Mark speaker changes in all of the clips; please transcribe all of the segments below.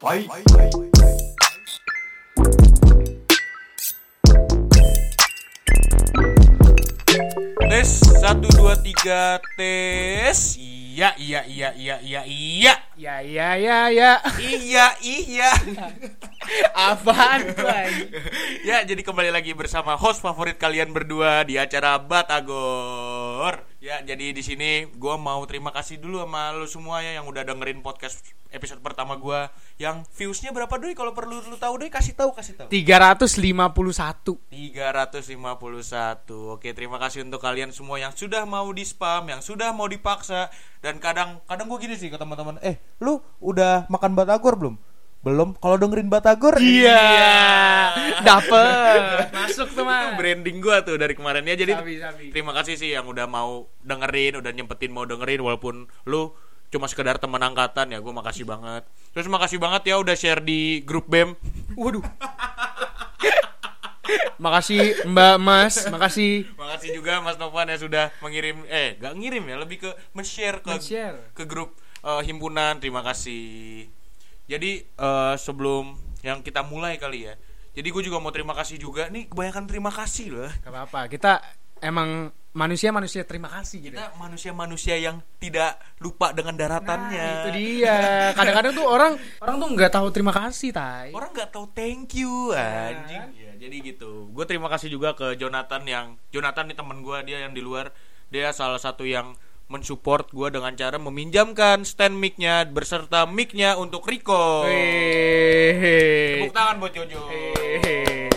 Speaker 1: バイ
Speaker 2: Tes 1 2 3 tes. Iya iya iya iya iya iya.
Speaker 3: Ya ya ya ya.
Speaker 2: Iya iya.
Speaker 3: Apaan tuh anjing?
Speaker 2: ya, jadi kembali lagi bersama host favorit kalian berdua di acara Batagor. Ya, jadi di sini gua mau terima kasih dulu sama lu semua ya yang udah dengerin podcast episode pertama gua yang viewsnya berapa doi kalau perlu lu tahu doi kasih tahu kasih tahu.
Speaker 3: 351.
Speaker 2: 351. Oke, terima kasih untuk kalian semua yang sudah mau di spam, yang sudah mau dipaksa dan kadang kadang gue gini sih ke teman-teman, eh, lu udah makan batagor belum? Belum. Kalau dengerin batagor
Speaker 3: Iya. Dapet. Masuk tuh,
Speaker 2: Itu
Speaker 3: Mas.
Speaker 2: branding gua tuh dari kemarin ya. Jadi
Speaker 3: Sabi, sabi.
Speaker 2: terima kasih sih yang udah mau dengerin, udah nyempetin mau dengerin walaupun lu cuma sekedar teman angkatan ya. Gua makasih banget. Terus makasih banget ya udah share di grup BEM.
Speaker 3: Waduh. Makasih Mbak Mas, makasih.
Speaker 2: Makasih juga Mas Novan yang sudah mengirim eh gak ngirim ya, lebih ke men-share ke
Speaker 3: Men-share.
Speaker 2: ke grup eh, himpunan. Terima kasih. Jadi eh, sebelum yang kita mulai kali ya. Jadi gue juga mau terima kasih juga nih kebanyakan terima kasih loh.
Speaker 3: Gak apa-apa, kita emang manusia-manusia terima kasih gitu.
Speaker 2: Kita manusia-manusia yang tidak lupa dengan daratannya.
Speaker 3: Nah, Itu dia. Kadang-kadang tuh orang orang tuh nggak tahu terima kasih, Tai.
Speaker 2: Orang nggak tahu thank you anjing.
Speaker 3: Eh. kan?
Speaker 2: Ya, jadi gitu. Gue terima kasih juga ke Jonathan yang Jonathan nih teman gue dia yang di luar dia salah satu yang mensupport gue dengan cara meminjamkan stand mic-nya berserta mic-nya untuk Rico.
Speaker 3: Wih.
Speaker 2: Tepuk tangan buat Jojo.
Speaker 3: Hehehe.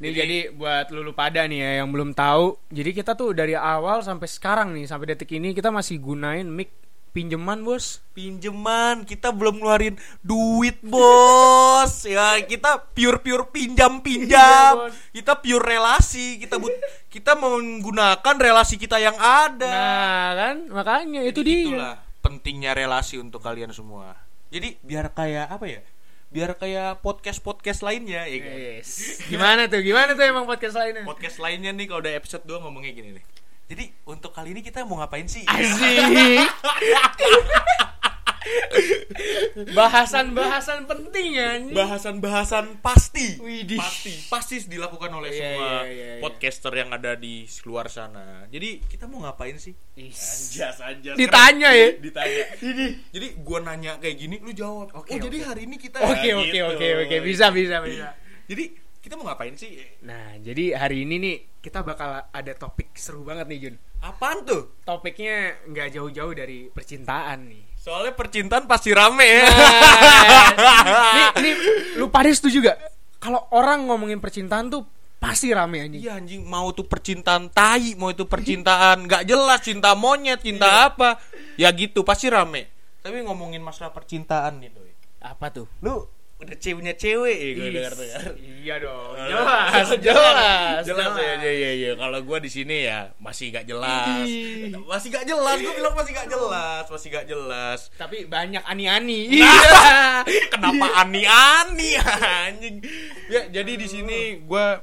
Speaker 3: Nih jadi buat lulu pada nih ya yang belum tahu. Jadi kita tuh dari awal sampai sekarang nih sampai detik ini kita masih gunain mic pinjeman, Bos.
Speaker 2: Pinjeman kita belum ngeluarin duit bos ya kita pure pure pinjam pinjam
Speaker 3: Iya, Bos.
Speaker 2: kita pure relasi kita but kita menggunakan relasi kita yang ada
Speaker 3: Nah, kan makanya itu
Speaker 2: Jadi
Speaker 3: dia.
Speaker 2: Itulah pentingnya relasi untuk kalian semua. Jadi biar kayak apa ya? Biar kayak podcast-podcast lainnya ya.
Speaker 3: Iya.
Speaker 2: kan?
Speaker 3: Yes. Gimana tuh? Gimana tuh emang podcast lainnya?
Speaker 2: Podcast lainnya nih kalau udah episode 2 ngomongnya gini nih. Jadi untuk kali ini kita mau ngapain sih?
Speaker 3: Asik. Bahasan-bahasan penting ya. anjing.
Speaker 2: Bahasan-bahasan pasti.
Speaker 3: Widih.
Speaker 2: Pasti pasti dilakukan oleh
Speaker 3: Iya,
Speaker 2: semua
Speaker 3: iya, iya, iya.
Speaker 2: podcaster yang ada di luar sana. Jadi kita mau ngapain sih? Anjas anjas.
Speaker 3: Ditanya ya.
Speaker 2: ditanya. Jadi gua nanya kayak gini lu jawab.
Speaker 3: Oke,
Speaker 2: oh, jadi
Speaker 3: oke.
Speaker 2: hari ini kita
Speaker 3: Oke,
Speaker 2: Ya,
Speaker 3: oke,
Speaker 2: gitu.
Speaker 3: oke, oke. Bisa, bisa, bisa.
Speaker 2: Jadi kita mau ngapain sih?
Speaker 3: Nah, jadi hari ini nih kita bakal ada topik seru banget nih Jun.
Speaker 2: Apaan tuh?
Speaker 3: Topiknya nggak jauh-jauh dari percintaan nih.
Speaker 2: Soalnya percintaan pasti rame ya.
Speaker 3: nih, nih, lu pada setuju gak? Kalau orang ngomongin percintaan tuh pasti rame anjing.
Speaker 2: Iya anjing mau tuh percintaan tai, mau itu percintaan nggak jelas cinta monyet, cinta apa. Ya gitu pasti rame. Tapi ngomongin masalah percintaan nih Doi.
Speaker 3: Apa tuh?
Speaker 2: Lu udah ceweknya cewek ya gue
Speaker 3: Is,
Speaker 2: dengar tuh ya.
Speaker 3: Iya dong.
Speaker 2: jelas,
Speaker 3: Jelas, jelas,
Speaker 2: jelas, ya, ya, ya, ya. Kalau gue di sini ya masih gak jelas, masih gak jelas. Gue bilang masih gak jelas, masih gak jelas.
Speaker 3: Tapi banyak ani-ani.
Speaker 2: Iya. Kenapa ani-ani anjing? Ya, jadi di sini gua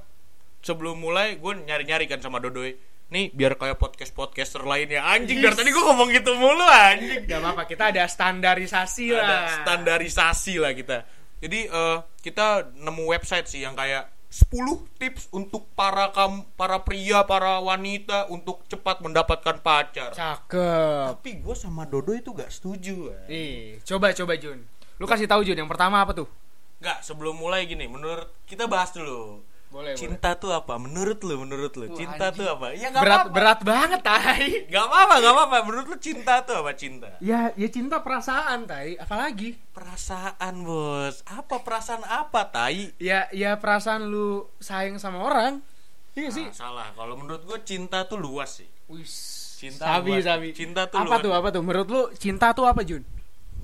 Speaker 2: sebelum mulai gue nyari-nyari kan sama Dodoy. Nih, biar kayak podcast-podcaster lainnya. Anjing, dari tadi gue ngomong gitu mulu anjing.
Speaker 3: Gak apa-apa, kita ada standarisasi lah.
Speaker 2: Ada standarisasi lah kita. Jadi eh, kita nemu website sih yang kayak 10 tips untuk para kam para pria, para wanita untuk cepat mendapatkan pacar.
Speaker 3: Cakep.
Speaker 2: Tapi gue sama Dodoy itu gak setuju. eh. anjing.
Speaker 3: Nih, coba coba Jun. Lu kasih tahu Jun yang pertama apa tuh?
Speaker 2: Enggak, sebelum mulai gini, menurut kita bahas dulu.
Speaker 3: Boleh,
Speaker 2: cinta tuh apa? Menurut lu, menurut lu,
Speaker 3: Wah,
Speaker 2: cinta
Speaker 3: anjing.
Speaker 2: tuh apa? Ya enggak
Speaker 3: Berat
Speaker 2: apa-apa.
Speaker 3: berat banget, Tai.
Speaker 2: Enggak apa-apa, enggak apa-apa. Menurut lu cinta tuh apa cinta?
Speaker 3: Ya, ya cinta perasaan, Tai. Apalagi?
Speaker 2: Perasaan, Bos. Apa perasaan apa, tai?
Speaker 3: Ya, ya perasaan lu sayang sama orang. Iya sih.
Speaker 2: Ah, salah. Kalau menurut gue cinta tuh luas sih.
Speaker 3: Wis.
Speaker 2: Ah. Cinta
Speaker 3: sabi,
Speaker 2: luas.
Speaker 3: sabi.
Speaker 2: Cinta tuh
Speaker 3: apa
Speaker 2: luas.
Speaker 3: tuh? Apa tuh? Menurut lu cinta tuh apa, Jun?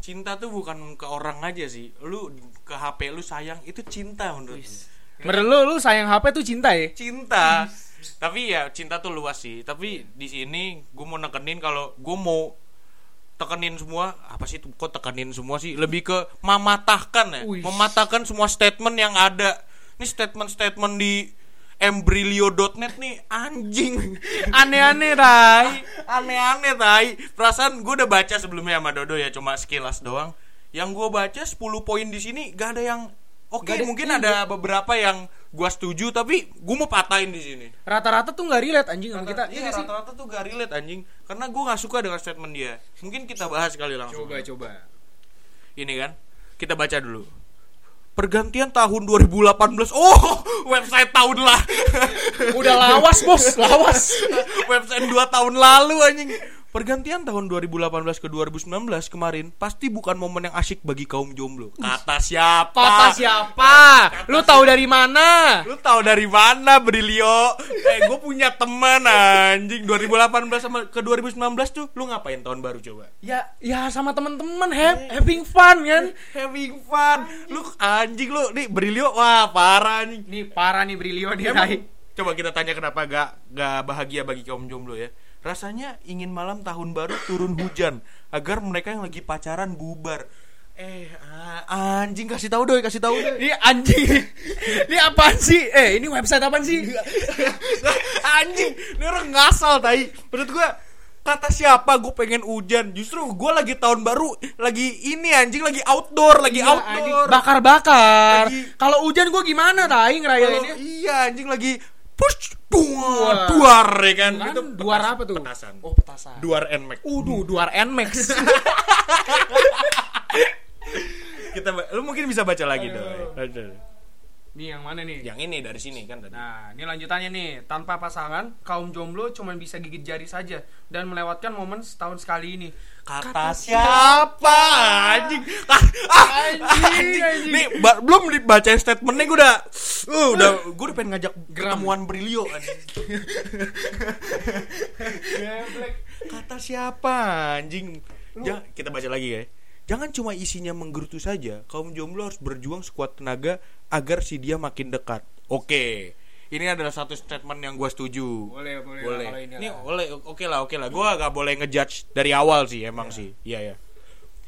Speaker 2: Cinta tuh bukan ke orang aja sih. Lu ke HP lu sayang itu cinta menurut gue.
Speaker 3: Menurut lu lu sayang HP tuh cinta ya?
Speaker 2: cinta tapi ya cinta tuh luas sih tapi di sini gue mau nekenin kalau gue mau tekenin semua apa sih tuh, kok tekenin semua sih lebih ke mematahkan ya
Speaker 3: Wih.
Speaker 2: mematahkan semua statement yang ada ini statement-statement di embrilio.net nih anjing
Speaker 3: Aneh-aneh, Tai.
Speaker 2: aneh-aneh tai perasaan gue udah baca sebelumnya sama Dodo ya cuma sekilas doang yang gue baca 10 poin di sini gak ada yang oke
Speaker 3: Gak ada-
Speaker 2: mungkin
Speaker 3: iya,
Speaker 2: ada beberapa yang gue setuju tapi gue mau patahin di sini
Speaker 3: Rata-rata tuh nggak relate anjing sama kita.
Speaker 2: Rata-
Speaker 3: Iya
Speaker 2: iya
Speaker 3: nggak sih?
Speaker 2: rata-rata tuh gak relate anjing karena gue nggak suka dengan statement dia mungkin kita bahas kali langsung
Speaker 3: Coba coba.
Speaker 2: ini kan kita baca dulu pergantian tahun 2018 oh website tahun lah
Speaker 3: Udah lawas bos, lawas.
Speaker 2: website 2 tahun lalu anjing pergantian tahun 2018 ke 2019 kemarin pasti bukan momen yang asyik bagi kaum jomblo kata siapa
Speaker 3: Kata siapa? Lu tahu dari mana?
Speaker 2: lu tahu dari mana Brilio eh gue punya teman anjing 2018 sama ke 2019 tuh lu ngapain tahun baru coba
Speaker 3: Ya, ya sama teman-teman ha- having fun kan.
Speaker 2: having fun lu anjing lu nih Brilio wah parah anjing
Speaker 3: Nih parah nih Brilio nih.
Speaker 2: Emang-
Speaker 3: Tai.
Speaker 2: coba kita tanya kenapa gak gak bahagia bagi kaum jomblo ya. Rasanya ingin malam tahun baru turun hujan agar mereka yang lagi pacaran bubar. Eh a- anjing kasih tahu doi kasih tahu doi.
Speaker 3: Ini anjing. Ini apaan sih? Eh, ini website apaan sih?
Speaker 2: anjing, ini orang ngasal tai. Menurut gua kata siapa gue pengen hujan justru gue lagi tahun baru lagi ini anjing lagi outdoor lagi
Speaker 3: Iya, anjing.
Speaker 2: outdoor
Speaker 3: Bakar-bakar.
Speaker 2: Lagi-
Speaker 3: Kalau hujan gua gimana tai
Speaker 2: Kalau-
Speaker 3: ngerayainnya?
Speaker 2: iya anjing lagi push duar
Speaker 3: Duar.
Speaker 2: duar ya kan
Speaker 3: Kan
Speaker 2: Itu
Speaker 3: duar
Speaker 2: petas-
Speaker 3: apa tuh?
Speaker 2: petasan
Speaker 3: Oh, petasan.
Speaker 2: duar nmax
Speaker 3: Uduh, duar Nmax.
Speaker 2: kita ba- lu mungkin bisa baca lagi dong
Speaker 3: nih yang mana nih?
Speaker 2: yang ini dari sini kan tadi
Speaker 3: Nah, ini lanjutannya nih. Tanpa pasangan, kaum jomblo cuman bisa gigit jari saja dan melewatkan momen setahun sekali ini.
Speaker 2: kata siapa anjing Ah, ah,
Speaker 3: Iya,
Speaker 2: anjing,
Speaker 3: anjing.
Speaker 2: nih ba- belum dibaca statementnya gue udah uh, udah gue udah pengen ngajak
Speaker 3: Geram.
Speaker 2: ketemuan Brilio anjing. kata siapa anjing Jangan- kita baca lagi ya jangan cuma isinya menggerutu saja kaum jomblo harus berjuang sekuat tenaga agar si dia makin dekat oke ini adalah satu statement yang gue setuju
Speaker 3: Boleh, boleh. lah
Speaker 2: boleh
Speaker 3: kalau ini
Speaker 2: ini
Speaker 3: lah.
Speaker 2: boleh oke lah oke lah gue gak boleh ngejudge dari awal sih emang sih iya ya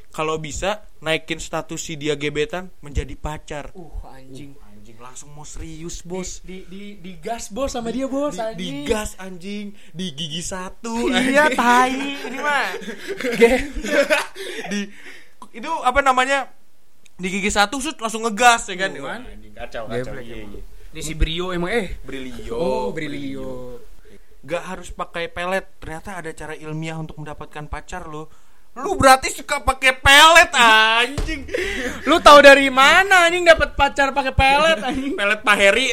Speaker 2: kalau bisa naikin status si dia gebetan menjadi pacar
Speaker 3: Uh, anjing.
Speaker 2: anjing langsung mau serius
Speaker 3: Di,
Speaker 2: bos
Speaker 3: di, di, digas bos sama dia
Speaker 2: di,
Speaker 3: bos anjing.
Speaker 2: digas anjing di gigi satu
Speaker 3: Iya,
Speaker 2: anjing.
Speaker 3: tai. Ini mah. Ge-
Speaker 2: di itu apa namanya di gigi satu sud langsung ngegas ya kan
Speaker 3: Tuh,
Speaker 2: Wah,
Speaker 3: kan.
Speaker 2: anjing, kacau
Speaker 3: Geblek
Speaker 2: iya,
Speaker 3: emang.
Speaker 2: iya.
Speaker 3: Ini si Brio emang eh.
Speaker 2: Brilio
Speaker 3: Oh, Brilio.
Speaker 2: gak harus pakai pelet ternyata ada cara ilmiah untuk mendapatkan pacar lo lu berarti suka pakai pelet anjing
Speaker 3: Lu tahu dari mana anjing dapat pacar pakai pelet anjing?
Speaker 2: pelet pak Heri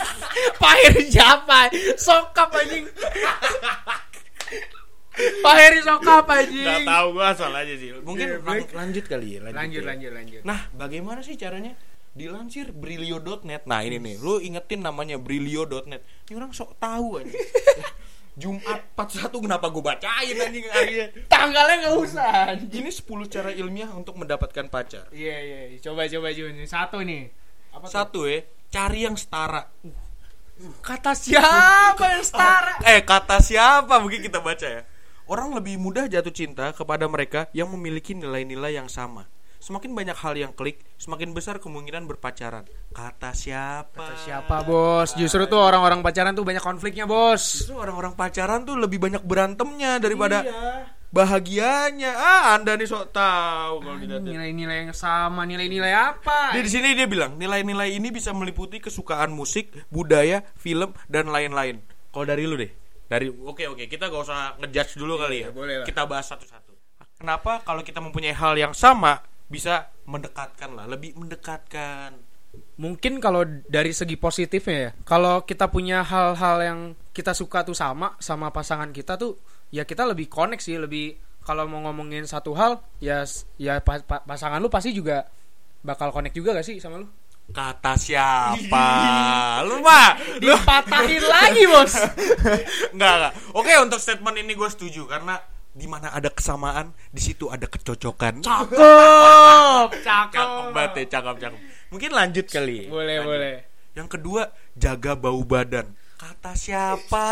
Speaker 3: Pak Heri siapa? Sokap anjing. Pak Heri sokap anjing.
Speaker 2: nggak tahu gua asal aja sih mungkin
Speaker 3: Iya,
Speaker 2: lang-
Speaker 3: baik.
Speaker 2: lanjut kali ya lanjut,
Speaker 3: Lanjut
Speaker 2: ya.
Speaker 3: lanjut lanjut.
Speaker 2: nah bagaimana sih caranya dilansir brilio.net nah ini nih lu ingetin namanya brilio.net ini orang sok tahu anjing Jumat 41 kenapa gue bacain anjing akhirnya
Speaker 3: Tanggalnya nggak usah. anjing.
Speaker 2: ini 10 cara ilmiah untuk mendapatkan pacar
Speaker 3: Iya iya, iya. coba coba Jun. Satu nih. Apa
Speaker 2: satu ya cari yang setara
Speaker 3: Kata siapa yang setara?
Speaker 2: Eh kata siapa mungkin kita baca ya Orang lebih mudah jatuh cinta kepada mereka yang memiliki nilai-nilai yang sama Semakin banyak hal yang klik, semakin besar kemungkinan berpacaran Kata siapa?
Speaker 3: Kata siapa bos? Justru tuh orang-orang pacaran tuh banyak konfliknya bos.
Speaker 2: Justru orang-orang pacaran tuh lebih banyak berantemnya daripada
Speaker 3: Iya.
Speaker 2: bahagianya Ah anda nih sok tahu kalau dilihat
Speaker 3: Nilai-nilai yang sama, nilai-nilai apa?
Speaker 2: Dia di sini dia bilang nilai-nilai ini bisa meliputi kesukaan musik, budaya, film dan lain-lain. Kalau dari lu deh. Dari oke oke kita gak usah ngejudge dulu kali ya.
Speaker 3: Iya, boleh lah.
Speaker 2: Kita bahas satu-satu. Kenapa kalau kita mempunyai hal yang sama bisa mendekatkan lah, lebih mendekatkan.
Speaker 3: Mungkin kalau dari segi positifnya ya, kalau kita punya hal-hal yang kita suka tuh sama sama pasangan kita tuh, ya kita lebih connect sih, lebih kalau mau ngomongin satu hal, ya s- ya pa- pa- pasangan lu pasti juga bakal connect juga gak sih sama lu?
Speaker 2: Kata siapa? lu mah lu
Speaker 3: Dipatahin lagi bos.
Speaker 2: Enggak, enggak. Oke, untuk statement ini gue setuju karena di mana ada kesamaan, di situ ada kecocokan.
Speaker 3: Cakep,
Speaker 2: Cakep banget ya, cakep, cakep. Mungkin lanjut kali. ya.
Speaker 3: Boleh boleh.
Speaker 2: Yang kedua, jaga bau badan. Kata siapa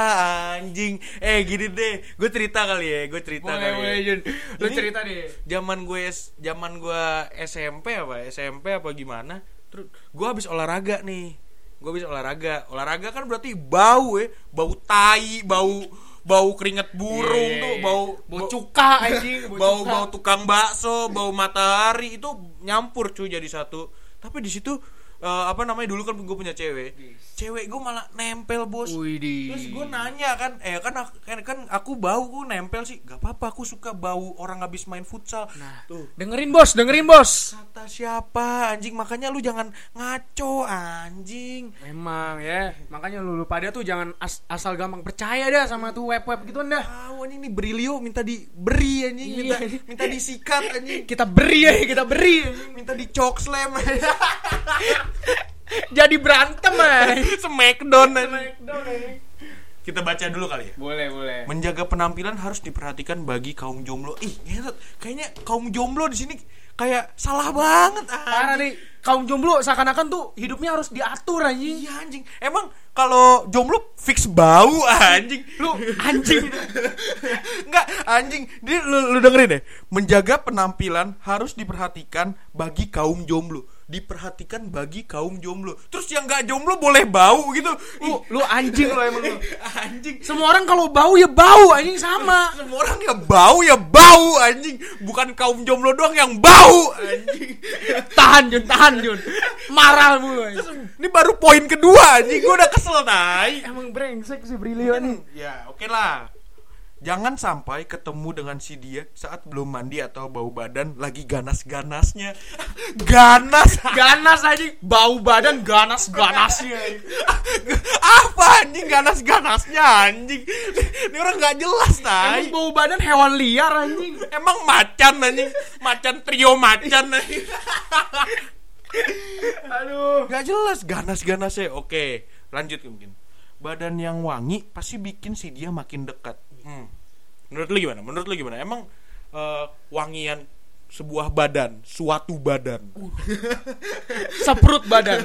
Speaker 2: anjing? Eh gini deh, gue cerita kali ya, gue cerita
Speaker 3: Boleh
Speaker 2: kali.
Speaker 3: boleh
Speaker 2: ya.
Speaker 3: Jun. Lu
Speaker 2: Jadi-
Speaker 3: cerita deh.
Speaker 2: Zaman gue S- zaman gue SMP apa? SMP apa gimana? Terus gue habis olahraga nih. Gue habis olahraga. Olahraga kan berarti bau ya, bau tai, bau bau keringet burung
Speaker 3: Iya, iya,
Speaker 2: tuh,
Speaker 3: iya.
Speaker 2: bau
Speaker 3: bau cuka anjing,
Speaker 2: bau
Speaker 3: cuka.
Speaker 2: bau tukang bakso, bau matahari itu nyampur cuy jadi satu. Tapi di situ eh, apa namanya dulu kan gue punya cewek, cewek gue malah nempel bos.
Speaker 3: Widih.
Speaker 2: Terus gue nanya kan, eh kan aku, kan, kan aku bau gue nempel sih, gak apa-apa aku suka bau orang habis main futsal.
Speaker 3: Nah,
Speaker 2: tuh
Speaker 3: dengerin bos, dengerin bos.
Speaker 2: kata siapa anjing makanya lu jangan ngaco anjing.
Speaker 3: Emang ya, makanya lu lu pada tuh jangan as- asal gampang percaya dah sama tuh web-web gitu dah.
Speaker 2: Tahu anjing nih Brilio minta diberi anjing,
Speaker 3: Iya.
Speaker 2: minta minta disikat anjing,
Speaker 3: Kita beri ya, kita beri.
Speaker 2: minta dicok slam.
Speaker 3: Jadi berantem ay.
Speaker 2: Smackdown anjing. Kita baca dulu kali ya.
Speaker 3: Boleh, boleh.
Speaker 2: Menjaga penampilan harus diperhatikan bagi kaum jomblo. Ih, ngentot. Kayaknya kaum jomblo di sini kayak salah banget.
Speaker 3: Parah
Speaker 2: anjing.
Speaker 3: nih, kaum jomblo seakan-akan tuh hidupnya harus diatur anjing.
Speaker 2: Iya anjing. Emang kalau jomblo fix bau anjing. Lu
Speaker 3: Anjing.
Speaker 2: Enggak, anjing. Dia lu, lu dengerin deh. Menjaga penampilan harus diperhatikan bagi kaum jomblo. Diperhatikan bagi kaum jomblo. Terus yang enggak jomblo boleh bau gitu.
Speaker 3: Lu,
Speaker 2: Ih,
Speaker 3: lu anjing lu emang lu.
Speaker 2: anjing.
Speaker 3: Semua orang kalau bau ya bau anjing sama.
Speaker 2: Semua orang ya bau ya bau anjing. Bukan kaum jomblo doang yang bau anjing.
Speaker 3: Tahan Jun, tahan Jun. Marah mulu anjing.
Speaker 2: Terus, ini baru poin kedua anjing. Gue udah kesel tai.
Speaker 3: Emang brengsek si Brilio nih.
Speaker 2: Ya, oke lah. Jangan sampai ketemu dengan si dia saat belum mandi atau bau badan lagi ganas-ganasnya. Ganas.
Speaker 3: Ganas anjing, bau badan ganas-ganasnya.
Speaker 2: Apa anjing ganas-ganasnya anjing? Ini orang nggak jelas,
Speaker 3: Emang
Speaker 2: tai.
Speaker 3: bau badan hewan liar anjing.
Speaker 2: Emang macan anjing, macan trio macan anjing.
Speaker 3: Aduh.
Speaker 2: Nggak jelas ganas-ganasnya. Oke, lanjut mungkin. Badan yang wangi pasti bikin si dia makin dekat. Hmm. Menurut lu gimana? Menurut lu gimana? Emang eh, wangian sebuah badan, suatu badan.
Speaker 3: Seprut badan.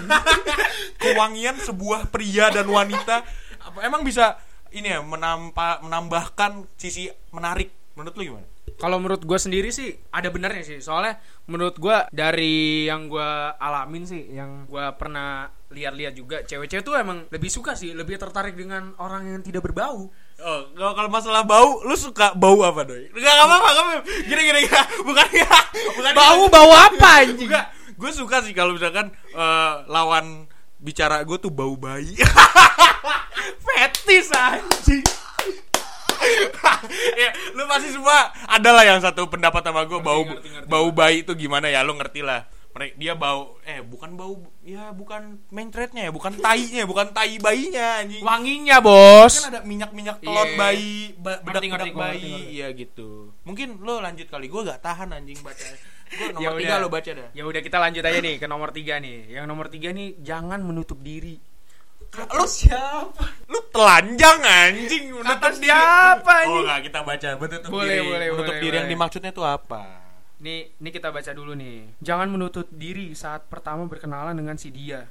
Speaker 2: kewangian sebuah pria dan wanita apa emang bisa ini ya menampa, menambahkan sisi menarik menurut lu gimana?
Speaker 3: Kalau menurut gue sendiri sih ada benernya sih. Soalnya menurut gue dari yang gue alamin sih, yang gue pernah lihat-lihat juga, cewek-cewek tuh emang lebih suka sih, lebih tertarik dengan orang yang tidak berbau.
Speaker 2: Oh, kalau, kalau masalah bau, lu suka bau apa doi? Enggak apa apa, apa gini gini gini. bukan ya, bukan
Speaker 3: Bau bau apa anjing?
Speaker 2: juga. Gue suka sih kalau misalkan eh, lawan bicara gue tuh bau bayi.
Speaker 3: Fetis anjing.
Speaker 2: ya, lu pasti semua adalah yang satu pendapat sama gue bau
Speaker 3: ngerti, ngerti.
Speaker 2: bau bayi itu gimana ya lu ngerti lah Mere- dia bau eh bukan bau ya bukan mentretnya ya bukan tainya bukan tai bayinya anjing
Speaker 3: Wanginya bos.
Speaker 2: kan ada minyak minyak telur
Speaker 3: Iya.
Speaker 2: bayi ba- bedak bedak
Speaker 3: ngerti gua, ngerti,
Speaker 2: bayi
Speaker 3: ngerti.
Speaker 2: iya gitu mungkin lu lanjut kali gue gak tahan anjing baca gue nomor
Speaker 3: Ya
Speaker 2: tiga
Speaker 3: udah.
Speaker 2: lu baca dah
Speaker 3: Ya udah kita lanjut aja nih ke nomor tiga nih. Yang nomor tiga nih jangan menutup diri.
Speaker 2: lu siapa lu telanjang anjing menutup diri.
Speaker 3: siapa,
Speaker 2: oh
Speaker 3: anjing?
Speaker 2: nggak kita baca menutup
Speaker 3: Boleh,
Speaker 2: diri
Speaker 3: boleh,
Speaker 2: menutup
Speaker 3: boleh,
Speaker 2: diri yang
Speaker 3: boleh.
Speaker 2: dimaksudnya tuh apa
Speaker 3: Nih, nih kita baca dulu nih. Jangan menutup diri saat pertama berkenalan dengan si dia.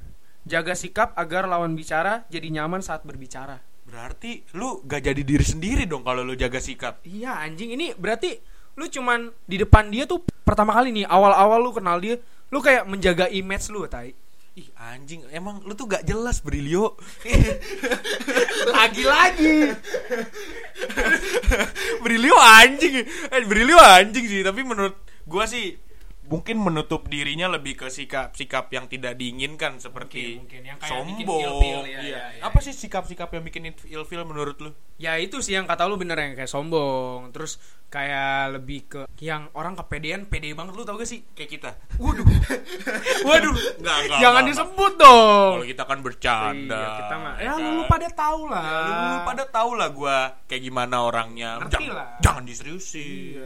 Speaker 3: Jaga sikap agar lawan bicara jadi nyaman saat berbicara.
Speaker 2: Berarti lu gak jadi diri sendiri dong kalau lu jaga sikap.
Speaker 3: Iya, anjing ini berarti lu cuman di depan dia tuh pertama kali nih, awal-awal lu kenal dia, lu kayak menjaga image lu, tai.
Speaker 2: Ih anjing, emang lu tuh gak jelas Brilio.
Speaker 3: Lagi-lagi.
Speaker 2: Brilio anjing. Eh, Brilio anjing sih, tapi menurut gua sih mungkin menutup dirinya lebih ke sikap-sikap yang tidak diinginkan seperti
Speaker 3: Mungkin, mungkin. Yang kayak bikin
Speaker 2: sombong.
Speaker 3: ill-feel, ya,
Speaker 2: Iya.
Speaker 3: ya, ya.
Speaker 2: Apa sih sikap-sikap yang bikin ilfil menurut lu?
Speaker 3: ya itu sih yang kata lu bener yang kayak sombong, terus kayak lebih ke yang orang kepedean, pede banget lu tau gak sih?
Speaker 2: Kayak kita.
Speaker 3: Waduh. Waduh.
Speaker 2: Enggak, enggak,
Speaker 3: Jangan
Speaker 2: enggak,
Speaker 3: disebut dong.
Speaker 2: Kalau kita kan bercanda.
Speaker 3: Iya, kita mah. Ya
Speaker 2: kan?
Speaker 3: lu pada tahu lah.
Speaker 2: Ya, lu, lu pada tau lah gua kayak gimana orangnya.
Speaker 3: Ngerti
Speaker 2: jangan,
Speaker 3: lah. Iya.
Speaker 2: jangan diseriusin.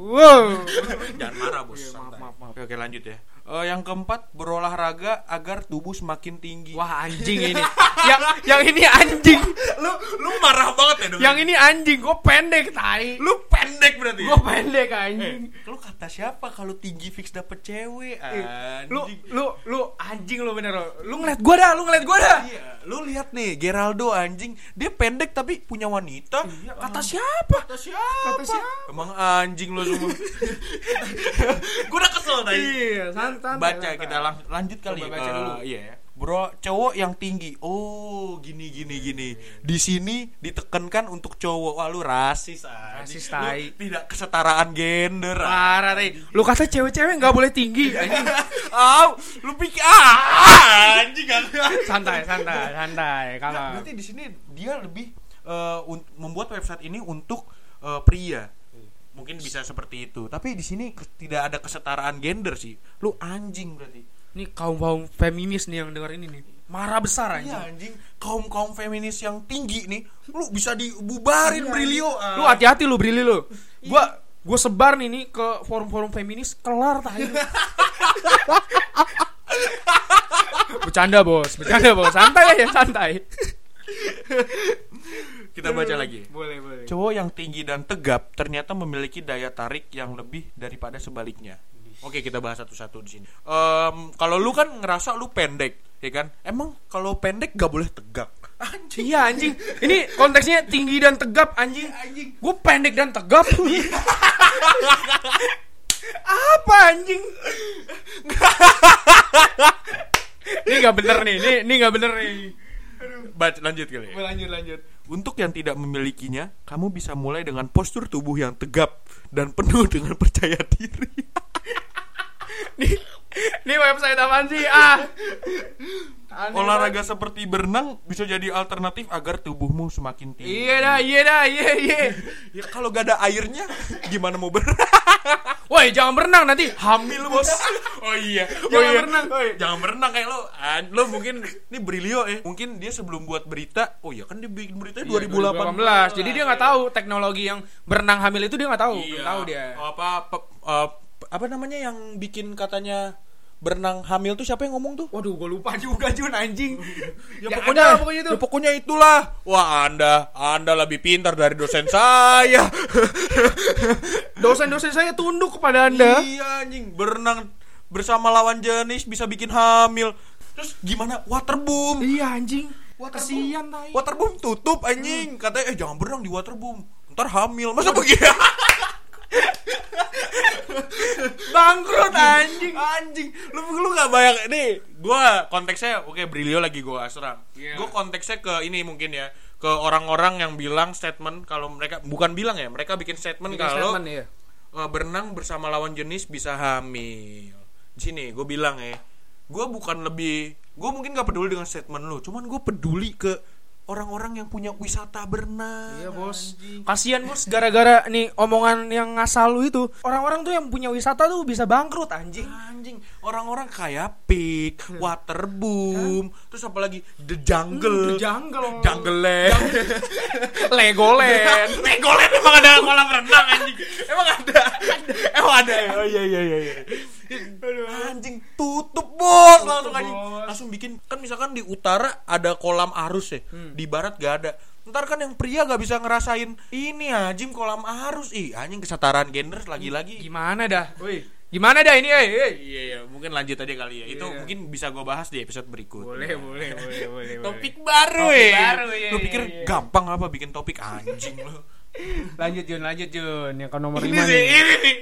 Speaker 3: Wow.
Speaker 2: Jangan marah bos.
Speaker 3: Iya,
Speaker 2: santai. Oke, oke lanjut ya. Eh, yang keempat berolahraga agar tubuh semakin tinggi.
Speaker 3: Wah anjing ini. yang yang ini anjing.
Speaker 2: lu lu marah banget ya dong.
Speaker 3: Yang ini anjing. Gue pendek tai.
Speaker 2: lu pendek berarti.
Speaker 3: Gue pendek
Speaker 2: Eh,
Speaker 3: anjing.
Speaker 2: lu kata siapa kalau tinggi fix dapet cewek anjing.
Speaker 3: Iya. Lu lu lu anjing lu bener lu. Lu ngeliat gue dah, lu ngeliat gue dah.
Speaker 2: Iya, lu lihat nih Geraldo anjing, dia pendek tapi punya wanita.
Speaker 3: Iya, Kata siapa?
Speaker 2: Kata siapa?
Speaker 3: Kata siapa?
Speaker 2: Emang anjing lu semua. Gue udah kesel tadi.
Speaker 3: Iya, santai.
Speaker 2: baca kita lang- lanjut kali
Speaker 3: Coba
Speaker 2: ya.
Speaker 3: baca
Speaker 2: Eh,
Speaker 3: dulu.
Speaker 2: iya ya. Bro, cowok yang tinggi. Oh, gini gini gini. Di sini ditekankan untuk cowok. Wah, lu rasis ah.
Speaker 3: Rasis,
Speaker 2: Lu
Speaker 3: tai.
Speaker 2: Tidak kesetaraan gender. ah.
Speaker 3: Parah tadi. Lu kata cewek-cewek nggak boleh tinggi. anjing.
Speaker 2: Au, lu pikir ah, anjing kan.
Speaker 3: santai, santai,
Speaker 2: Nah,
Speaker 3: santai. Kalau
Speaker 2: berarti di sini dia lebih eh, un- membuat website ini untuk eh, pria. Mungkin bisa seperti itu. Tapi di sini ke- tidak ada kesetaraan gender sih. Lu anjing berarti.
Speaker 3: ini kaum kaum feminis nih yang denger ini nih. Marah besar
Speaker 2: Iya
Speaker 3: anjing.
Speaker 2: anjing, kaum-kaum feminis yang tinggi nih, lu bisa dibubarin Brilio. ah.
Speaker 3: Lu hati-hati lu Brili lu. Gua gua sebar nih nih ke forum-forum feminis kelar tah ini. bercanda bos, bercanda bos, santai aja santai.
Speaker 2: Kita baca lagi.
Speaker 3: Boleh boleh.
Speaker 2: Cowok yang tinggi dan tegap ternyata memiliki daya tarik yang lebih daripada sebaliknya. Oke, kita bahas satu-satu di sini. Em, kalau lu kan ngerasa lu pendek, ya kan? Emang kalau pendek gak boleh tegak. Anjing.
Speaker 3: Iya anjing, ini konteksnya tinggi dan tegap anjing.
Speaker 2: Anjing.
Speaker 3: Gue pendek dan tegap. Apa anjing? ini nggak bener nih, ini ini nggak bener nih.
Speaker 2: Baca lanjut kali. ya.
Speaker 3: Lanjut lanjut.
Speaker 2: Untuk yang tidak memilikinya, kamu bisa mulai dengan postur tubuh yang tegap dan penuh dengan percaya diri.
Speaker 3: Ini website apaan sih? Ah. Aneh
Speaker 2: Olahraga seperti berenang bisa jadi alternatif agar tubuhmu semakin
Speaker 3: banget.
Speaker 2: tinggi.
Speaker 3: Iya dah, iya dah, iya iya.
Speaker 2: Ya kalau gak ada airnya, gimana mau berenang?
Speaker 3: Woi, jangan berenang nanti hamil.
Speaker 2: Mil bos. Oh iya.
Speaker 3: Jangan
Speaker 2: oh, iya.
Speaker 3: berenang.
Speaker 2: Oh, iya. Jangan berenang kayak lo. Ah, Lo mungkin ini Brilio ya. Mungkin dia sebelum buat berita, oh iya kan dia bikin beritanya 2018.
Speaker 3: 2018. Jadi dia nggak tahu teknologi yang berenang hamil itu dia nggak tahu.
Speaker 2: Iya.
Speaker 3: Belum tahu dia.
Speaker 2: Oh, Apa pe- eh, pe- apa namanya yang bikin katanya berenang hamil tuh siapa yang ngomong tuh?
Speaker 3: Waduh, gue lupa juga Jun anjing.
Speaker 2: Ya, pokoknya,
Speaker 3: ada lah pokoknya itu.
Speaker 2: ya pokoknya itulah. Wah, Anda, Anda lebih pintar dari dosen saya.
Speaker 3: Dosen-dosen saya tunduk kepada Anda.
Speaker 2: Iya anjing berenang bersama lawan jenis bisa bikin hamil. Terus gimana waterboom?
Speaker 3: Iya anjing. Kasihan
Speaker 2: Waterboom-
Speaker 3: tai.
Speaker 2: Waterboom tutup anjing.
Speaker 3: Hmm.
Speaker 2: Katanya eh jangan berenang di waterboom. Ntar hamil. Masa begini?
Speaker 3: Bangkrut anjing.
Speaker 2: anjing. Lu lu gak bayang nih. Gua konteksnya oke Brilio lagi gua serang.
Speaker 3: Iya.
Speaker 2: Gua konteksnya ke ini mungkin ya ke orang-orang yang bilang statement kalau mereka bukan bilang ya mereka bikin statement kalau
Speaker 3: Statement, iya.
Speaker 2: Eh, berenang bersama lawan jenis bisa hamil. Di sini gue bilang ya, gue bukan lebih, gue mungkin gak peduli dengan statement lo, cuman gue peduli ke orang-orang yang punya wisata berenang.
Speaker 3: Iya bos. Kasihan bos gara-gara nih omongan yang ngasal lu itu. Orang-orang tuh yang punya wisata tuh bisa bangkrut anjing.
Speaker 2: Anjing, orang-orang kayak pig, waterboom, terus apalagi Hmm, the jungle,
Speaker 3: jungle.
Speaker 2: Jungleland.
Speaker 3: Legoland.
Speaker 2: Legoland emang ada kolam renang anjing. Emang ada. Emang ada. ya? Oh iya iya iya iya. Anjing tutup bos langsung anjing.
Speaker 3: bos.
Speaker 2: Langsung bikin kan misalkan di utara ada kolam arus ya.
Speaker 3: Hmm.
Speaker 2: Di barat gak ada. Ntar kan yang pria gak bisa ngerasain ini anjing kolam arus. Ih anjing kesetaraan gender lagi-lagi.
Speaker 3: Gimana dah? Woi. Gimana dah ini, eh? eh?
Speaker 2: Iya iya mungkin lanjut aja kali ya. Itu
Speaker 3: Iya.
Speaker 2: mungkin bisa gue bahas di episode berikut.
Speaker 3: Boleh, boleh, boleh, boleh.
Speaker 2: Topik baru
Speaker 3: Topik
Speaker 2: ya.
Speaker 3: baru, iya,
Speaker 2: Lu
Speaker 3: iya,
Speaker 2: pikir
Speaker 3: iya.
Speaker 2: gampang apa bikin topik anjing lu?
Speaker 3: Lanjut Jun, lanjut Jun. Yang ke nomor
Speaker 2: Ini
Speaker 3: 5
Speaker 2: sih,
Speaker 3: nih.
Speaker 2: ini nih.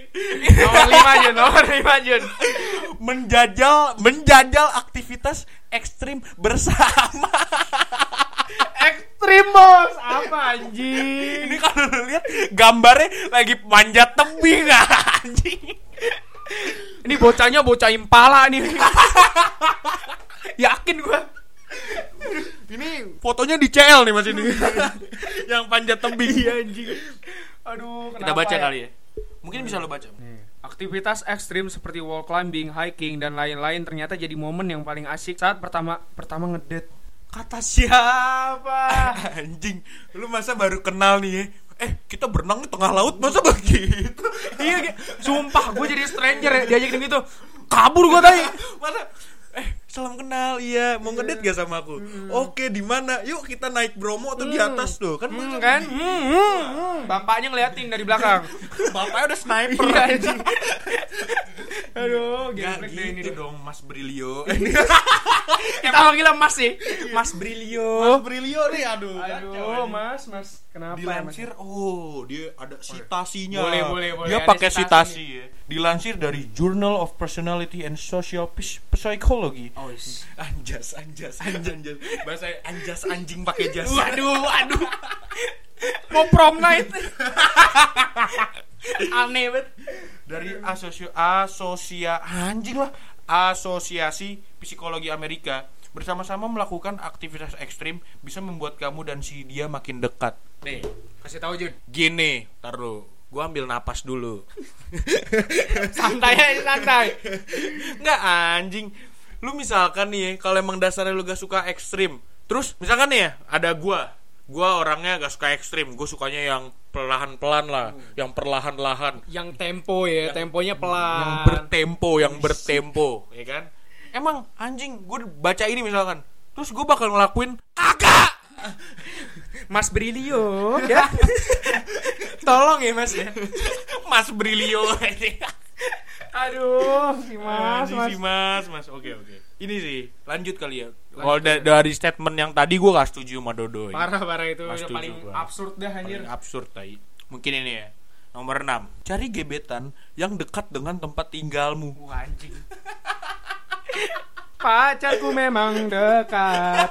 Speaker 3: Nomor 5 Jun, nomor 5 Jun.
Speaker 2: menjajal menjajal aktivitas ekstrim bersama
Speaker 3: Ekstrim bos, apa anjing?
Speaker 2: ini kalau lu lihat gambarnya lagi manjat tebing anjing
Speaker 3: Ini bocahnya bocah impala nih. Yakin gua.
Speaker 2: ini fotonya di CL nih mas ini yang panjat tebing
Speaker 3: anjing. Aduh,
Speaker 2: Iya, kita baca kali ya mungkin bisa lo baca
Speaker 3: Aktivitas ekstrim seperti wall climbing, hiking, dan lain-lain ternyata jadi momen yang paling asik saat pertama pertama ngedate.
Speaker 2: kata siapa
Speaker 3: Wah,
Speaker 2: anjing lu masa baru kenal nih ya? eh kita berenang di tengah laut masa begitu
Speaker 3: iya, Ge. sumpah gue jadi stranger ya diajakin gitu. Kabur gua tadi.
Speaker 2: Masa eh salam kenal iya mau ngedate gak sama aku oke di mana yuk kita naik bromo atau di atas tuh kan
Speaker 3: Hmm, kan? Hmm, hmm, hmm. Bapaknya ngeliatin dari belakang.
Speaker 2: bapaknya udah sniper
Speaker 3: Iya, anjing. Aduh,
Speaker 2: Gak
Speaker 3: geblek deh ini.
Speaker 2: gitu dong Mas Brilio
Speaker 3: Kita panggilnya Mas sih. Mas Brilio.
Speaker 2: Brilio nih aduh
Speaker 3: Aduh, Mas, Mas. Kenapa? ya, Mas?
Speaker 2: dilansir oh dia ada sitasinya
Speaker 3: Boleh, boleh, boleh.
Speaker 2: dia
Speaker 3: Ada
Speaker 2: pakai
Speaker 3: sitasi.
Speaker 2: sitasi ya. dilansir dari Journal of Personality and Social Psy- Psychology.
Speaker 1: Oh, is.
Speaker 2: Anjas, anjas, anjas, anjas. Bahasa anjas anjing pakai jas. Waduh, waduh.
Speaker 3: Mau prom night.
Speaker 1: aneh banget.
Speaker 2: dari asosio asosia anjing lah asosiasi psikologi Amerika bersama-sama melakukan aktivitas ekstrim bisa membuat kamu dan si dia makin dekat
Speaker 3: Nih, kasih tahu Jun.
Speaker 2: gini ntar lu gua ambil napas dulu
Speaker 1: Santai aja santai.
Speaker 2: nggak anjing lu misalkan nih ya, kalau emang dasarnya lu gak suka ekstrim terus misalkan nih ya ada gua gua orangnya gak suka ekstrim gua sukanya yang perlahan-pelan lah yang perlahan-lahan
Speaker 1: Yang tempo ya, temponya pelan.
Speaker 3: Ah.
Speaker 2: yang bertempo yang bertempo ya kan emang anjing gue baca ini misalkan terus gue bakal ngelakuin kagak
Speaker 3: Mas Brilio ya. Tolong ya Mas ya.
Speaker 2: Mas Brilio ini
Speaker 3: Aduh, si
Speaker 2: Mas, mas. mas, mas. Oke, oke. Ini sih, lanjut kali ya. Kalau da- dari statement yang tadi gue gak setuju sama Dodo.
Speaker 3: Parah parah itu
Speaker 2: Mas
Speaker 3: udah
Speaker 2: setuju
Speaker 3: paling
Speaker 2: gua.
Speaker 3: absurd dah anjir.
Speaker 2: Paling absurd tadi. Mungkin ini ya. Nomor 6. Cari gebetan yang dekat dengan tempat tinggalmu.
Speaker 3: Wah, anjing. Pacarku memang dekat.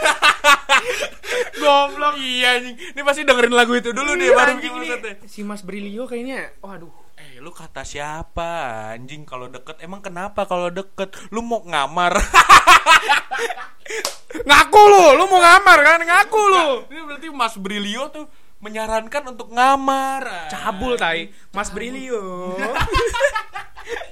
Speaker 2: Goblok. Iya anjing. Ini pasti dengerin lagu itu dulu deh baru bikin maksudnya.
Speaker 3: si Mas Brilio kayaknya waduh.
Speaker 2: Eh, lu kata siapa anjing kalau deket? Emang kenapa kalau deket? Lu mau ngamar?
Speaker 3: Ngaku lu, lu mau ngamar kan? Ngaku lu.
Speaker 2: Ini berarti Mas Brilio tuh menyarankan untuk ngamar.
Speaker 3: Cabul tai, Mas Brilio.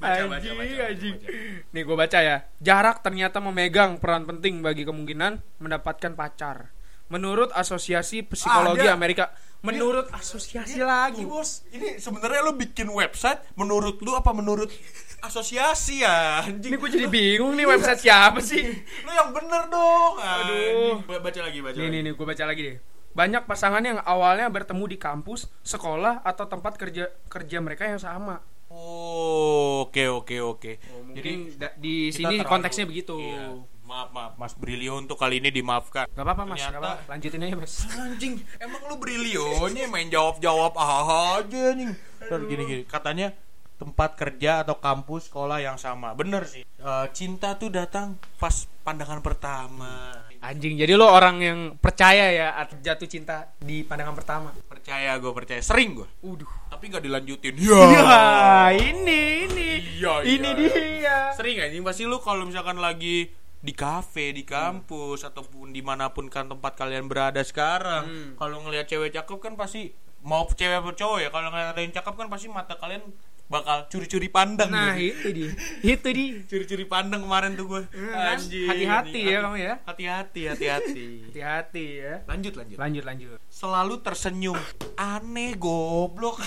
Speaker 2: Baca, baca,
Speaker 3: Anjing,
Speaker 2: baca, baca,
Speaker 3: anjing.
Speaker 2: baca.
Speaker 3: Nih gue baca ya. Jarak ternyata memegang peran penting bagi kemungkinan mendapatkan pacar. Menurut Asosiasi Psikologi
Speaker 2: Ada.
Speaker 3: Amerika, menurut asosiasi lagi, Bos.
Speaker 2: bos. Ini sebenarnya lu bikin website menurut lu apa menurut asosiasi ya?
Speaker 3: Ini
Speaker 2: Anjing.
Speaker 3: gue jadi bingung nih website siapa sih?
Speaker 2: Lu yang bener dong.
Speaker 3: Aduh.
Speaker 2: Anjing. Ba- Baca lagi, baca
Speaker 3: Nih
Speaker 2: lagi.
Speaker 3: nih nih gue baca lagi deh. Banyak pasangan yang awalnya bertemu di kampus, sekolah atau tempat kerja kerja mereka yang sama.
Speaker 2: Oh, oke oke oke.
Speaker 3: Jadi da- Oh,
Speaker 2: Oh,
Speaker 3: di
Speaker 2: kita
Speaker 3: sini
Speaker 2: terlalu-
Speaker 3: konteksnya begitu.
Speaker 2: Iya. Maaf maaf Mas Brilio untuk kali ini dimaafkan.
Speaker 3: Gak apa-apa mas,
Speaker 2: Ternyata-
Speaker 3: gak apa-apa. lanjutin aja mas.
Speaker 2: Anjing, emang lu berilionya main jawab-jawab aja anjing. Ntar gini-gini, katanya tempat kerja atau kampus sekolah yang sama. Bener sih. Eh, cinta tuh datang pas pandangan pertama.
Speaker 3: Anjing, jadi lo orang yang percaya ya at- jatuh cinta di pandangan pertama.
Speaker 2: Percaya gue percaya, sering gue.
Speaker 3: Uduh.
Speaker 2: Tapi gak dilanjutin.
Speaker 3: Ya, ini ini.
Speaker 2: Oh. Iya,
Speaker 3: ini
Speaker 2: iya.
Speaker 3: dia.
Speaker 2: Sering anjing pasti lu kalau misalkan lagi di kafe, di kampus ataupun dimanapun kan tempat kalian berada sekarang,
Speaker 3: Hmm.
Speaker 2: kalau ngelihat cewek cakep kan pasti mau cewek atau cowok ya kalau ngelihat ada yang cakep kan pasti mata kalian bakal curi-curi pandang.
Speaker 3: Nah,
Speaker 2: gitu.
Speaker 3: itu dia. Itu dia.
Speaker 2: curi-curi pandang kemarin tuh gue.
Speaker 3: kan?
Speaker 2: Anjing.
Speaker 3: Hati-hati ya kamu ya.
Speaker 2: Hati-hati, hati-hati.
Speaker 3: Hati-hati ya.
Speaker 2: lanjut lanjut.
Speaker 3: Lanjut lanjut.
Speaker 2: Selalu tersenyum. Aneh goblok.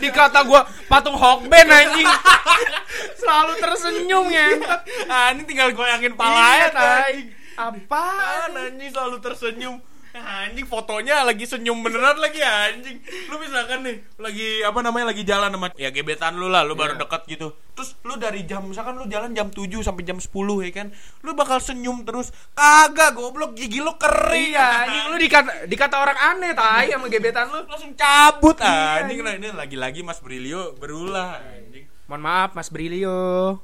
Speaker 3: Dikata gua patung Hokben anjing. Selalu tersenyum ya.
Speaker 2: ah, ini tinggal goyangin
Speaker 3: Palanya
Speaker 2: palanya
Speaker 3: tai.
Speaker 2: anjing.
Speaker 3: Apa?
Speaker 2: Apaan anjing selalu tersenyum Anjing fotonya lagi senyum beneran lagi anjing Lu misalkan nih Lagi apa namanya lagi jalan sama Ya gebetan lu lah Lu baru
Speaker 3: Iya.
Speaker 2: dekat gitu Terus lu dari jam Misalkan lu jalan jam 7 sampai jam 10 ya kan Lu bakal senyum terus Kagak goblok gigi lu kering
Speaker 3: Iya, anjing lu dikata dikata orang aneh tai sama gebetan lu.
Speaker 2: Langsung cabut
Speaker 3: Iya,
Speaker 2: anjing Nah ini lagi-lagi Mas Brilio berulah anjing
Speaker 3: Mohon maaf Mas Brilio.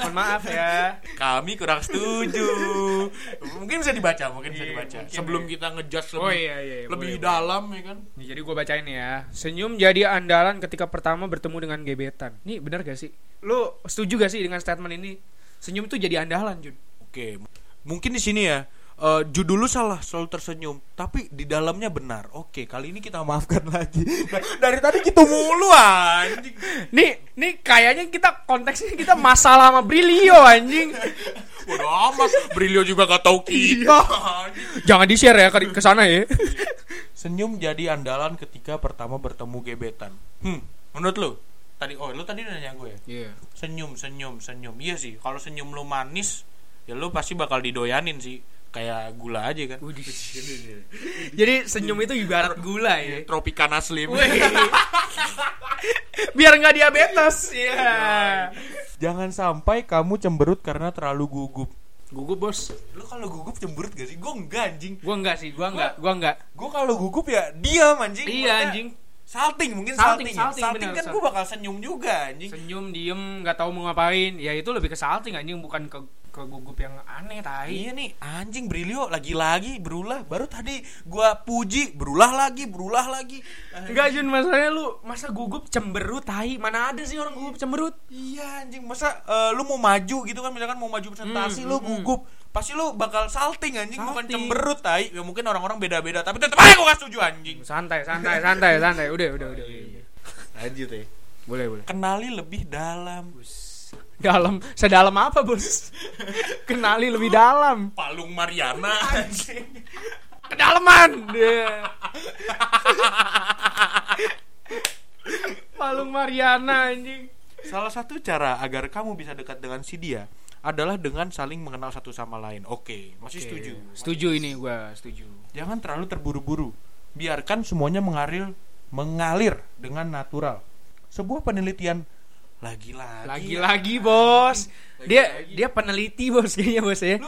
Speaker 3: Mohon maaf ya.
Speaker 2: kami kurang setuju. mungkin bisa dibaca, mungkin bisa
Speaker 3: Iya,
Speaker 2: dibaca.
Speaker 3: mungkin
Speaker 2: Sebelum kita ngejudge lebih,
Speaker 3: Oh, iya, iya, iya,
Speaker 2: lebih
Speaker 3: boleh, boleh.
Speaker 2: dalam ya kan.
Speaker 3: Nih, jadi gue bacain nih ya. Senyum jadi andalan ketika pertama bertemu dengan gebetan. Nih benar gak sih? Lu setuju gak sih dengan statement ini? Senyum tuh jadi andalan, Jun.
Speaker 2: Oke, m- mungkin di sini ya eh, judul lu salah selalu tersenyum, tapi di dalamnya benar. Oke, kali ini kita maafkan lagi. Dari tadi gitu mulu anjing.
Speaker 3: Nih, nih kayaknya kita konteksnya kita masalah sama Brilio anjing.
Speaker 2: Udah amat, Brilio juga gak tahu kita. anjing.
Speaker 3: Jangan di-share ya ke ke sana ya.
Speaker 2: Senyum jadi andalan ketika pertama bertemu gebetan. Hmm, menurut lu? Tadi oh, lu tadi nanya gue ya?
Speaker 3: Iya.
Speaker 2: senyum senyum senyum iya sih kalau senyum lu manis ya lu pasti bakal didoyanin sih kayak gula aja kan
Speaker 3: Jadi senyum itu ibarat gula ya.
Speaker 2: tropicana slim
Speaker 3: Biar nggak diabetes. Iya.
Speaker 2: jangan sampai kamu cemberut karena terlalu gugup
Speaker 3: Gugup bos.
Speaker 2: lu kalau gugup cemberut gak sih gue enggak anjing
Speaker 3: Gua enggak sih, gua enggak, gua enggak.
Speaker 2: gue kalau gugup ya diam anjing
Speaker 3: Iya
Speaker 2: Maksudnya,
Speaker 3: anjing.
Speaker 2: salting mungkin
Speaker 3: Salting,
Speaker 2: salting,
Speaker 3: salting,
Speaker 2: salting, salting
Speaker 3: benar,
Speaker 2: kan
Speaker 3: salting.
Speaker 2: gue bakal senyum juga anjing
Speaker 3: senyum diem nggak tahu mau ngapain ya itu lebih ke salting anjing bukan ke ke gugup yang aneh tai
Speaker 2: Iya nih, anjing Brilio lagi-lagi berulah. Baru tadi gua puji, berulah lagi, berulah lagi. Ah,
Speaker 3: Enggak Jun masalahnya lu masa gugup cemberut tai mana ada sih orang gugup cemberut
Speaker 2: Iya anjing, masa eh, lu mau maju gitu kan misalkan mau maju presentasi
Speaker 3: Hmm,
Speaker 2: lu
Speaker 3: hmm,
Speaker 2: gugup. Pasti lu bakal salting anjing, bukan
Speaker 3: Salting.
Speaker 2: cemberut tai. Ya mungkin orang-orang beda-beda, tapi tetep aja gua gak setuju anjing.
Speaker 3: santai santai santai santai udah udah udah, udah, udah.
Speaker 2: Lanjut ya.
Speaker 3: boleh boleh
Speaker 2: Kenali lebih dalam.
Speaker 3: dalam sedalam apa bos kenali lebih dalam
Speaker 2: Palung Mariana anjing.
Speaker 3: kedalaman Iya. palung Mariana anjing
Speaker 2: Salah satu cara agar kamu bisa dekat dengan si dia adalah dengan saling mengenal satu sama lain. Oke, masih setuju.
Speaker 3: setuju ini gua setuju
Speaker 2: Jangan terlalu terburu-buru. Biarkan semuanya mengalir mengalir dengan natural. Sebuah penelitian lagi-lagi. Ya.
Speaker 3: lagi-lagi bos dia dia peneliti bos kayaknya bos ya
Speaker 2: Lu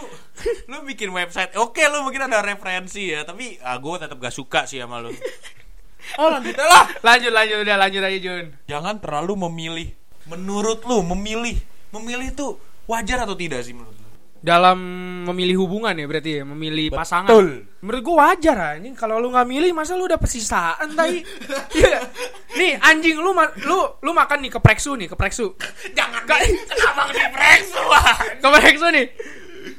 Speaker 2: lu bikin website. Oke, lu mungkin ada referensi ya, tapi ah, gue tetap gak suka sih sama lu. oh, lanjut lah.
Speaker 3: lanjut lanjut udah lanjut aja Jun
Speaker 2: Jangan terlalu memilih. Menurut lu memilih, memilih itu wajar atau tidak sih menurut lu?
Speaker 3: dalam memilih hubungan ya berarti ya memilih pasangan
Speaker 2: Betul.
Speaker 3: menurut gua wajar anjing kalau lu nggak milih masa lu udah pesisaan tai Iya. nih anjing lu ma- lu lu makan nih kepreksu nih kepreksu
Speaker 2: Jangan kenapa di Brexit?
Speaker 3: kepreksu nih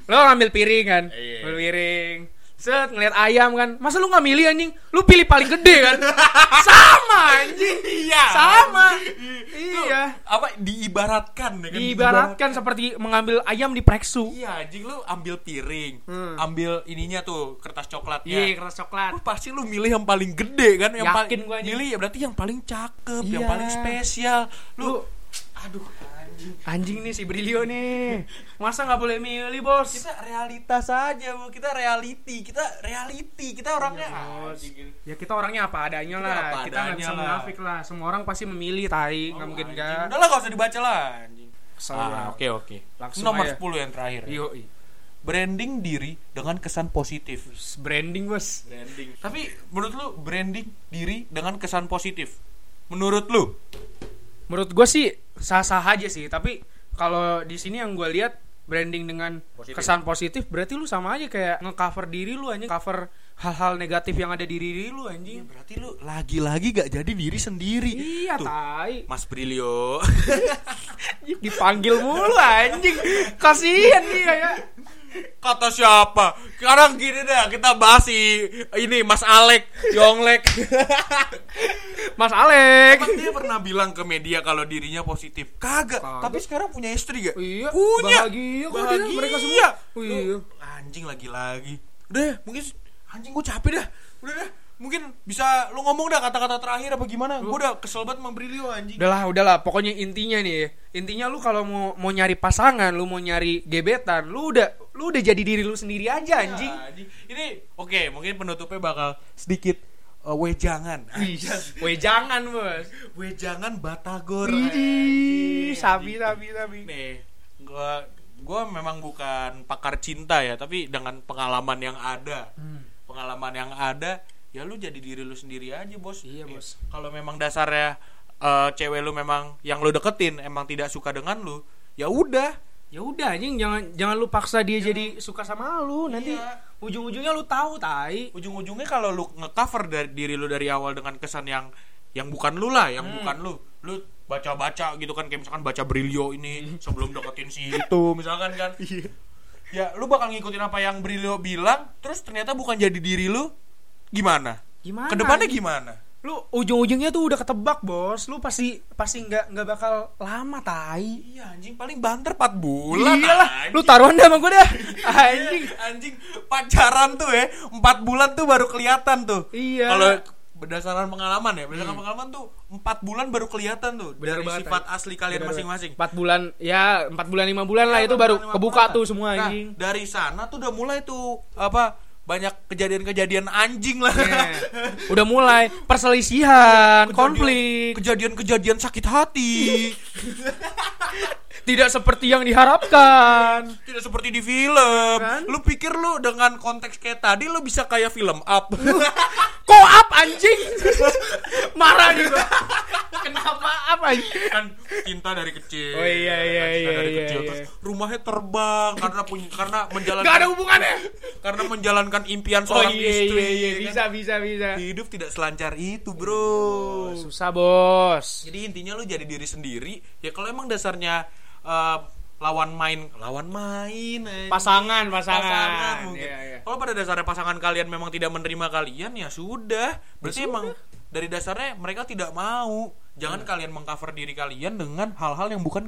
Speaker 3: lu ngambil piring kan
Speaker 2: Iya.
Speaker 3: ngambil piring set ngeliat ayam kan masa lu nggak milih anjing lu pilih paling gede kan sama anjing
Speaker 2: Iya.
Speaker 3: sama
Speaker 2: Tuh,
Speaker 3: iya
Speaker 2: Apa diibaratkan ya kan?
Speaker 3: diibaratkan seperti mengambil ayam di preksu
Speaker 2: Iya, anjing lu ambil piring,
Speaker 3: Hmm.
Speaker 2: ambil ininya tuh kertas
Speaker 3: iya
Speaker 2: coklatnya.
Speaker 3: keras coklat
Speaker 2: Lu pasti lu milih yang paling gede kan, yang
Speaker 3: Yakin
Speaker 2: paling
Speaker 3: gua, anjing.
Speaker 2: milih ya berarti yang paling cakep, yang
Speaker 3: Iya.
Speaker 2: paling spesial. Lu,
Speaker 3: Lu-
Speaker 2: aduh anjing.
Speaker 3: Anjing nih si Brilio nih. Masa nggak boleh milih, Bos?
Speaker 2: Kita realitas aja, Bu. Kita reality, kita reality, kita orangnya
Speaker 3: Iya, Bos.
Speaker 2: anjing.
Speaker 3: Ya kita orangnya apa adanya
Speaker 2: Kita
Speaker 3: lah.
Speaker 2: apa
Speaker 3: kita nggak
Speaker 2: adanya
Speaker 3: bisa
Speaker 2: lah.
Speaker 3: munafik lah. Semua orang pasti memilih tai, nggak mungkin
Speaker 2: Oh, Anjing.
Speaker 3: enggak.
Speaker 2: Udah lah gak usah dibaca lah anjing.
Speaker 3: Kesel gua.
Speaker 2: Ah, oke oke.
Speaker 3: Langsung
Speaker 2: Nomor
Speaker 3: aja. Iya.
Speaker 2: 10 yang terakhir. ya.
Speaker 3: Yoi.
Speaker 2: Branding diri dengan kesan positif.
Speaker 3: Branding, Bos.
Speaker 2: branding tapi menurut lu branding diri dengan kesan positif menurut lu
Speaker 3: Menurut gua sih sah-sah aja sih, tapi kalau di sini yang gua lihat branding dengan
Speaker 2: Positif.
Speaker 3: kesan positif berarti lu sama aja kayak ngecover diri lu anjing, cover hal-hal negatif yang ada di diri lu anjing.
Speaker 2: Ya berarti lu lagi-lagi gak jadi diri sendiri
Speaker 3: Iya,
Speaker 2: Tuh,
Speaker 3: tai.
Speaker 2: Mas Brilio
Speaker 3: Dipanggil mulu anjing. Kasihan dia ya.
Speaker 2: kata siapa sekarang gini dah kita bahas si ini Mas Alek Yonglek
Speaker 3: Mas Alek.
Speaker 2: Emang dia Eh, pernah bilang ke media kalau dirinya positif kagak
Speaker 3: Kagak.
Speaker 2: tapi sekarang punya istri gak
Speaker 3: Iya,
Speaker 2: punya
Speaker 3: bahagia kok dia,
Speaker 2: Bahagia.
Speaker 3: mereka semua.
Speaker 2: Lu,
Speaker 3: Iya.
Speaker 2: anjing lagi-lagi udah ya, mungkin anjing gue capek dah udah dah mungkin bisa lu ngomong dah kata-kata terakhir apa gimana gue udah kesel banget sama Brilio anjing
Speaker 3: Udahlah, udahlah. Pokoknya intinya nih, intinya lu kalau mau mau nyari pasangan, lu mau nyari gebetan, lu udah lu udah jadi diri lu sendiri aja anjing.
Speaker 2: Ya, anjing. ini oke mungkin penutupnya bakal sedikit eh, wejangan
Speaker 3: Wih, weh jangan, Bos.
Speaker 2: wejangan batagor anjing.
Speaker 3: Widih, sabi sabi sabi.
Speaker 2: nih gua gua memang bukan pakar cinta ya tapi dengan pengalaman yang ada
Speaker 3: Hmm,
Speaker 2: pengalaman yang ada ya lu jadi diri lu sendiri aja bos
Speaker 3: Iya,
Speaker 2: Eh,
Speaker 3: Bos.
Speaker 2: kalau memang dasarnya eh, cewek lu memang yang lu deketin emang tidak suka dengan lu ya udah
Speaker 3: Ya udah anjing, jangan jangan lu paksa dia jadi suka sama lu. Nanti
Speaker 2: Iya.
Speaker 3: ujung-ujungnya lu tahu tai.
Speaker 2: ujung-ujungnya kalau lu ngecover dari diri lu dari awal dengan kesan yang yang bukan lu lah
Speaker 3: Hmm.
Speaker 2: yang bukan lu lu baca-baca gitu kan kayak misalkan baca Brilio
Speaker 3: Hmm.
Speaker 2: ini sebelum deketin si itu misalkan kan
Speaker 3: Iya.
Speaker 2: ya lu bakal ngikutin apa yang Brilio bilang terus ternyata bukan jadi diri lu gimana
Speaker 3: Gimana?
Speaker 2: kedepannya
Speaker 3: anjing?
Speaker 2: gimana
Speaker 3: Lu ujung-ujungnya tuh udah ketebak, Bos. Lu pasti pasti nggak nggak bakal lama tai.
Speaker 2: iya anjing paling banter 4 bulan
Speaker 3: Iyalah,
Speaker 2: anjing.
Speaker 3: lu taruhan dah sama gue dah. Anjing.
Speaker 2: Iya, anjing pacaran tuh ya 4 bulan tuh baru kelihatan tuh
Speaker 3: Iya.
Speaker 2: kalau berdasarkan pengalaman ya berdasarkan pengalaman tuh 4 bulan baru kelihatan tuh
Speaker 3: Bener
Speaker 2: dari
Speaker 3: banget,
Speaker 2: sifat
Speaker 3: anjing.
Speaker 2: asli kalian
Speaker 3: Bener
Speaker 2: masing-masing Iya,
Speaker 3: Empat bulan, ya empat bulan lima bulan lah itu
Speaker 2: Empat
Speaker 3: baru
Speaker 2: bulan, lima
Speaker 3: kebuka
Speaker 2: bulan.
Speaker 3: tuh semua
Speaker 2: Nah,
Speaker 3: anjing.
Speaker 2: dari sana tuh udah mulai tuh apa banyak kejadian-kejadian anjing lah
Speaker 3: Yeah. Iya. Udah mulai perselisihan,
Speaker 2: Kejadian-
Speaker 3: konflik,
Speaker 2: kejadian-kejadian sakit hati
Speaker 3: tidak seperti yang diharapkan.
Speaker 2: Tidak seperti di film.
Speaker 3: Kan?
Speaker 2: Lu pikir lu dengan konteks kayak tadi lu bisa kayak film up.
Speaker 3: Kok up anjing? Marah gitu. nih gua. Kenapa up anjing?
Speaker 2: kan cinta dari kecil.
Speaker 3: Oh, iya, iya,
Speaker 2: Kan cinta
Speaker 3: iya,
Speaker 2: dari
Speaker 3: iya,
Speaker 2: kecil.
Speaker 3: iya.
Speaker 2: Terus rumahnya terbang karena punya karena menjalankan
Speaker 3: Gak ada hubungannya.
Speaker 2: karena menjalankan impian
Speaker 3: Oh
Speaker 2: seorang
Speaker 3: iya
Speaker 2: istri.
Speaker 3: iya iya
Speaker 2: ya kan?
Speaker 3: bisa bisa bisa.
Speaker 2: Hidup tidak selancar itu, Bro.
Speaker 3: Iya. Susah bos.
Speaker 2: Jadi intinya lu jadi diri sendiri. Ya kalau emang dasarnya eh, lawan main, lawan main. eh.
Speaker 3: Pasangan pasangan.
Speaker 2: pasangan mungkin.
Speaker 3: Iya, iya.
Speaker 2: Kalau pada dasarnya pasangan kalian memang tidak menerima kalian ya sudah.
Speaker 3: Ya
Speaker 2: Berarti emang dari dasarnya mereka tidak mau. Jangan
Speaker 3: Iya.
Speaker 2: kalian mengcover diri kalian dengan hal-hal yang bukan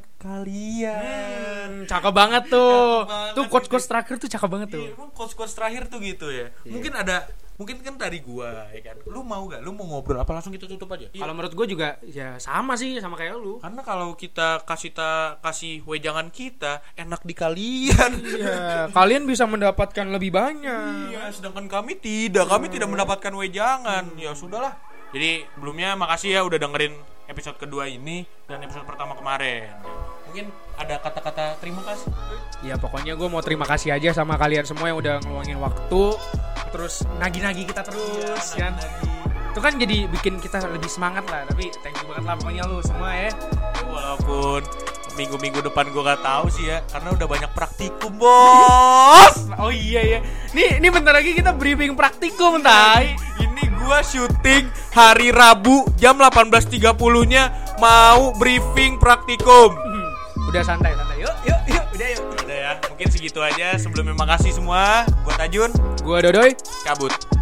Speaker 2: kalian.
Speaker 3: Hmm, Cakep banget tuh.
Speaker 2: Cakep banget.
Speaker 3: Tuh coach coach terakhir tuh cakep banget tuh.
Speaker 2: Iya, emang coach-coach terakhir tuh gitu ya.
Speaker 3: Iya.
Speaker 2: Mungkin ada mungkin kan dari gua ya kan. Lu mau gak? Lu mau ngobrol apa langsung kita tutup aja?
Speaker 3: Kalau menurut gue juga ya sama sih sama kayak lu.
Speaker 2: Karena kalau kita kasih ta kasih wejangan kita enak di kalian.
Speaker 3: Iya, kalian bisa mendapatkan lebih banyak.
Speaker 2: Iya, sedangkan kami tidak, kami tidak mendapatkan wejangan. Ya sudahlah. Jadi sebelumnya makasih ya udah dengerin episode kedua ini dan episode pertama kemarin. Mungkin ada kata-kata terima kasih.
Speaker 3: Ya pokoknya gue mau terima kasih aja sama kalian semua yang udah ngeluangin waktu, terus nagih-nagih kita terus, kan? Itu kan jadi bikin kita lebih semangat lah. Tapi thank you banget lah pokoknya lu semua ya.
Speaker 2: Walaupun minggu-minggu depan gua gak tahu sih ya, karena udah banyak praktikum bos.
Speaker 3: Oh iya ya. Nih ini bentar lagi kita briefing praktikum tai.
Speaker 2: Ini gua syuting hari Rabu jam 18.30-nya mau briefing praktikum.
Speaker 3: Hmm, Udah santai santai. Yuk yuk yuk udah yuk.
Speaker 2: Udah ya, mungkin segitu aja. Sebelumnya makasih semua. Gua Tajun,
Speaker 3: Gua Dodoy.
Speaker 2: cabut.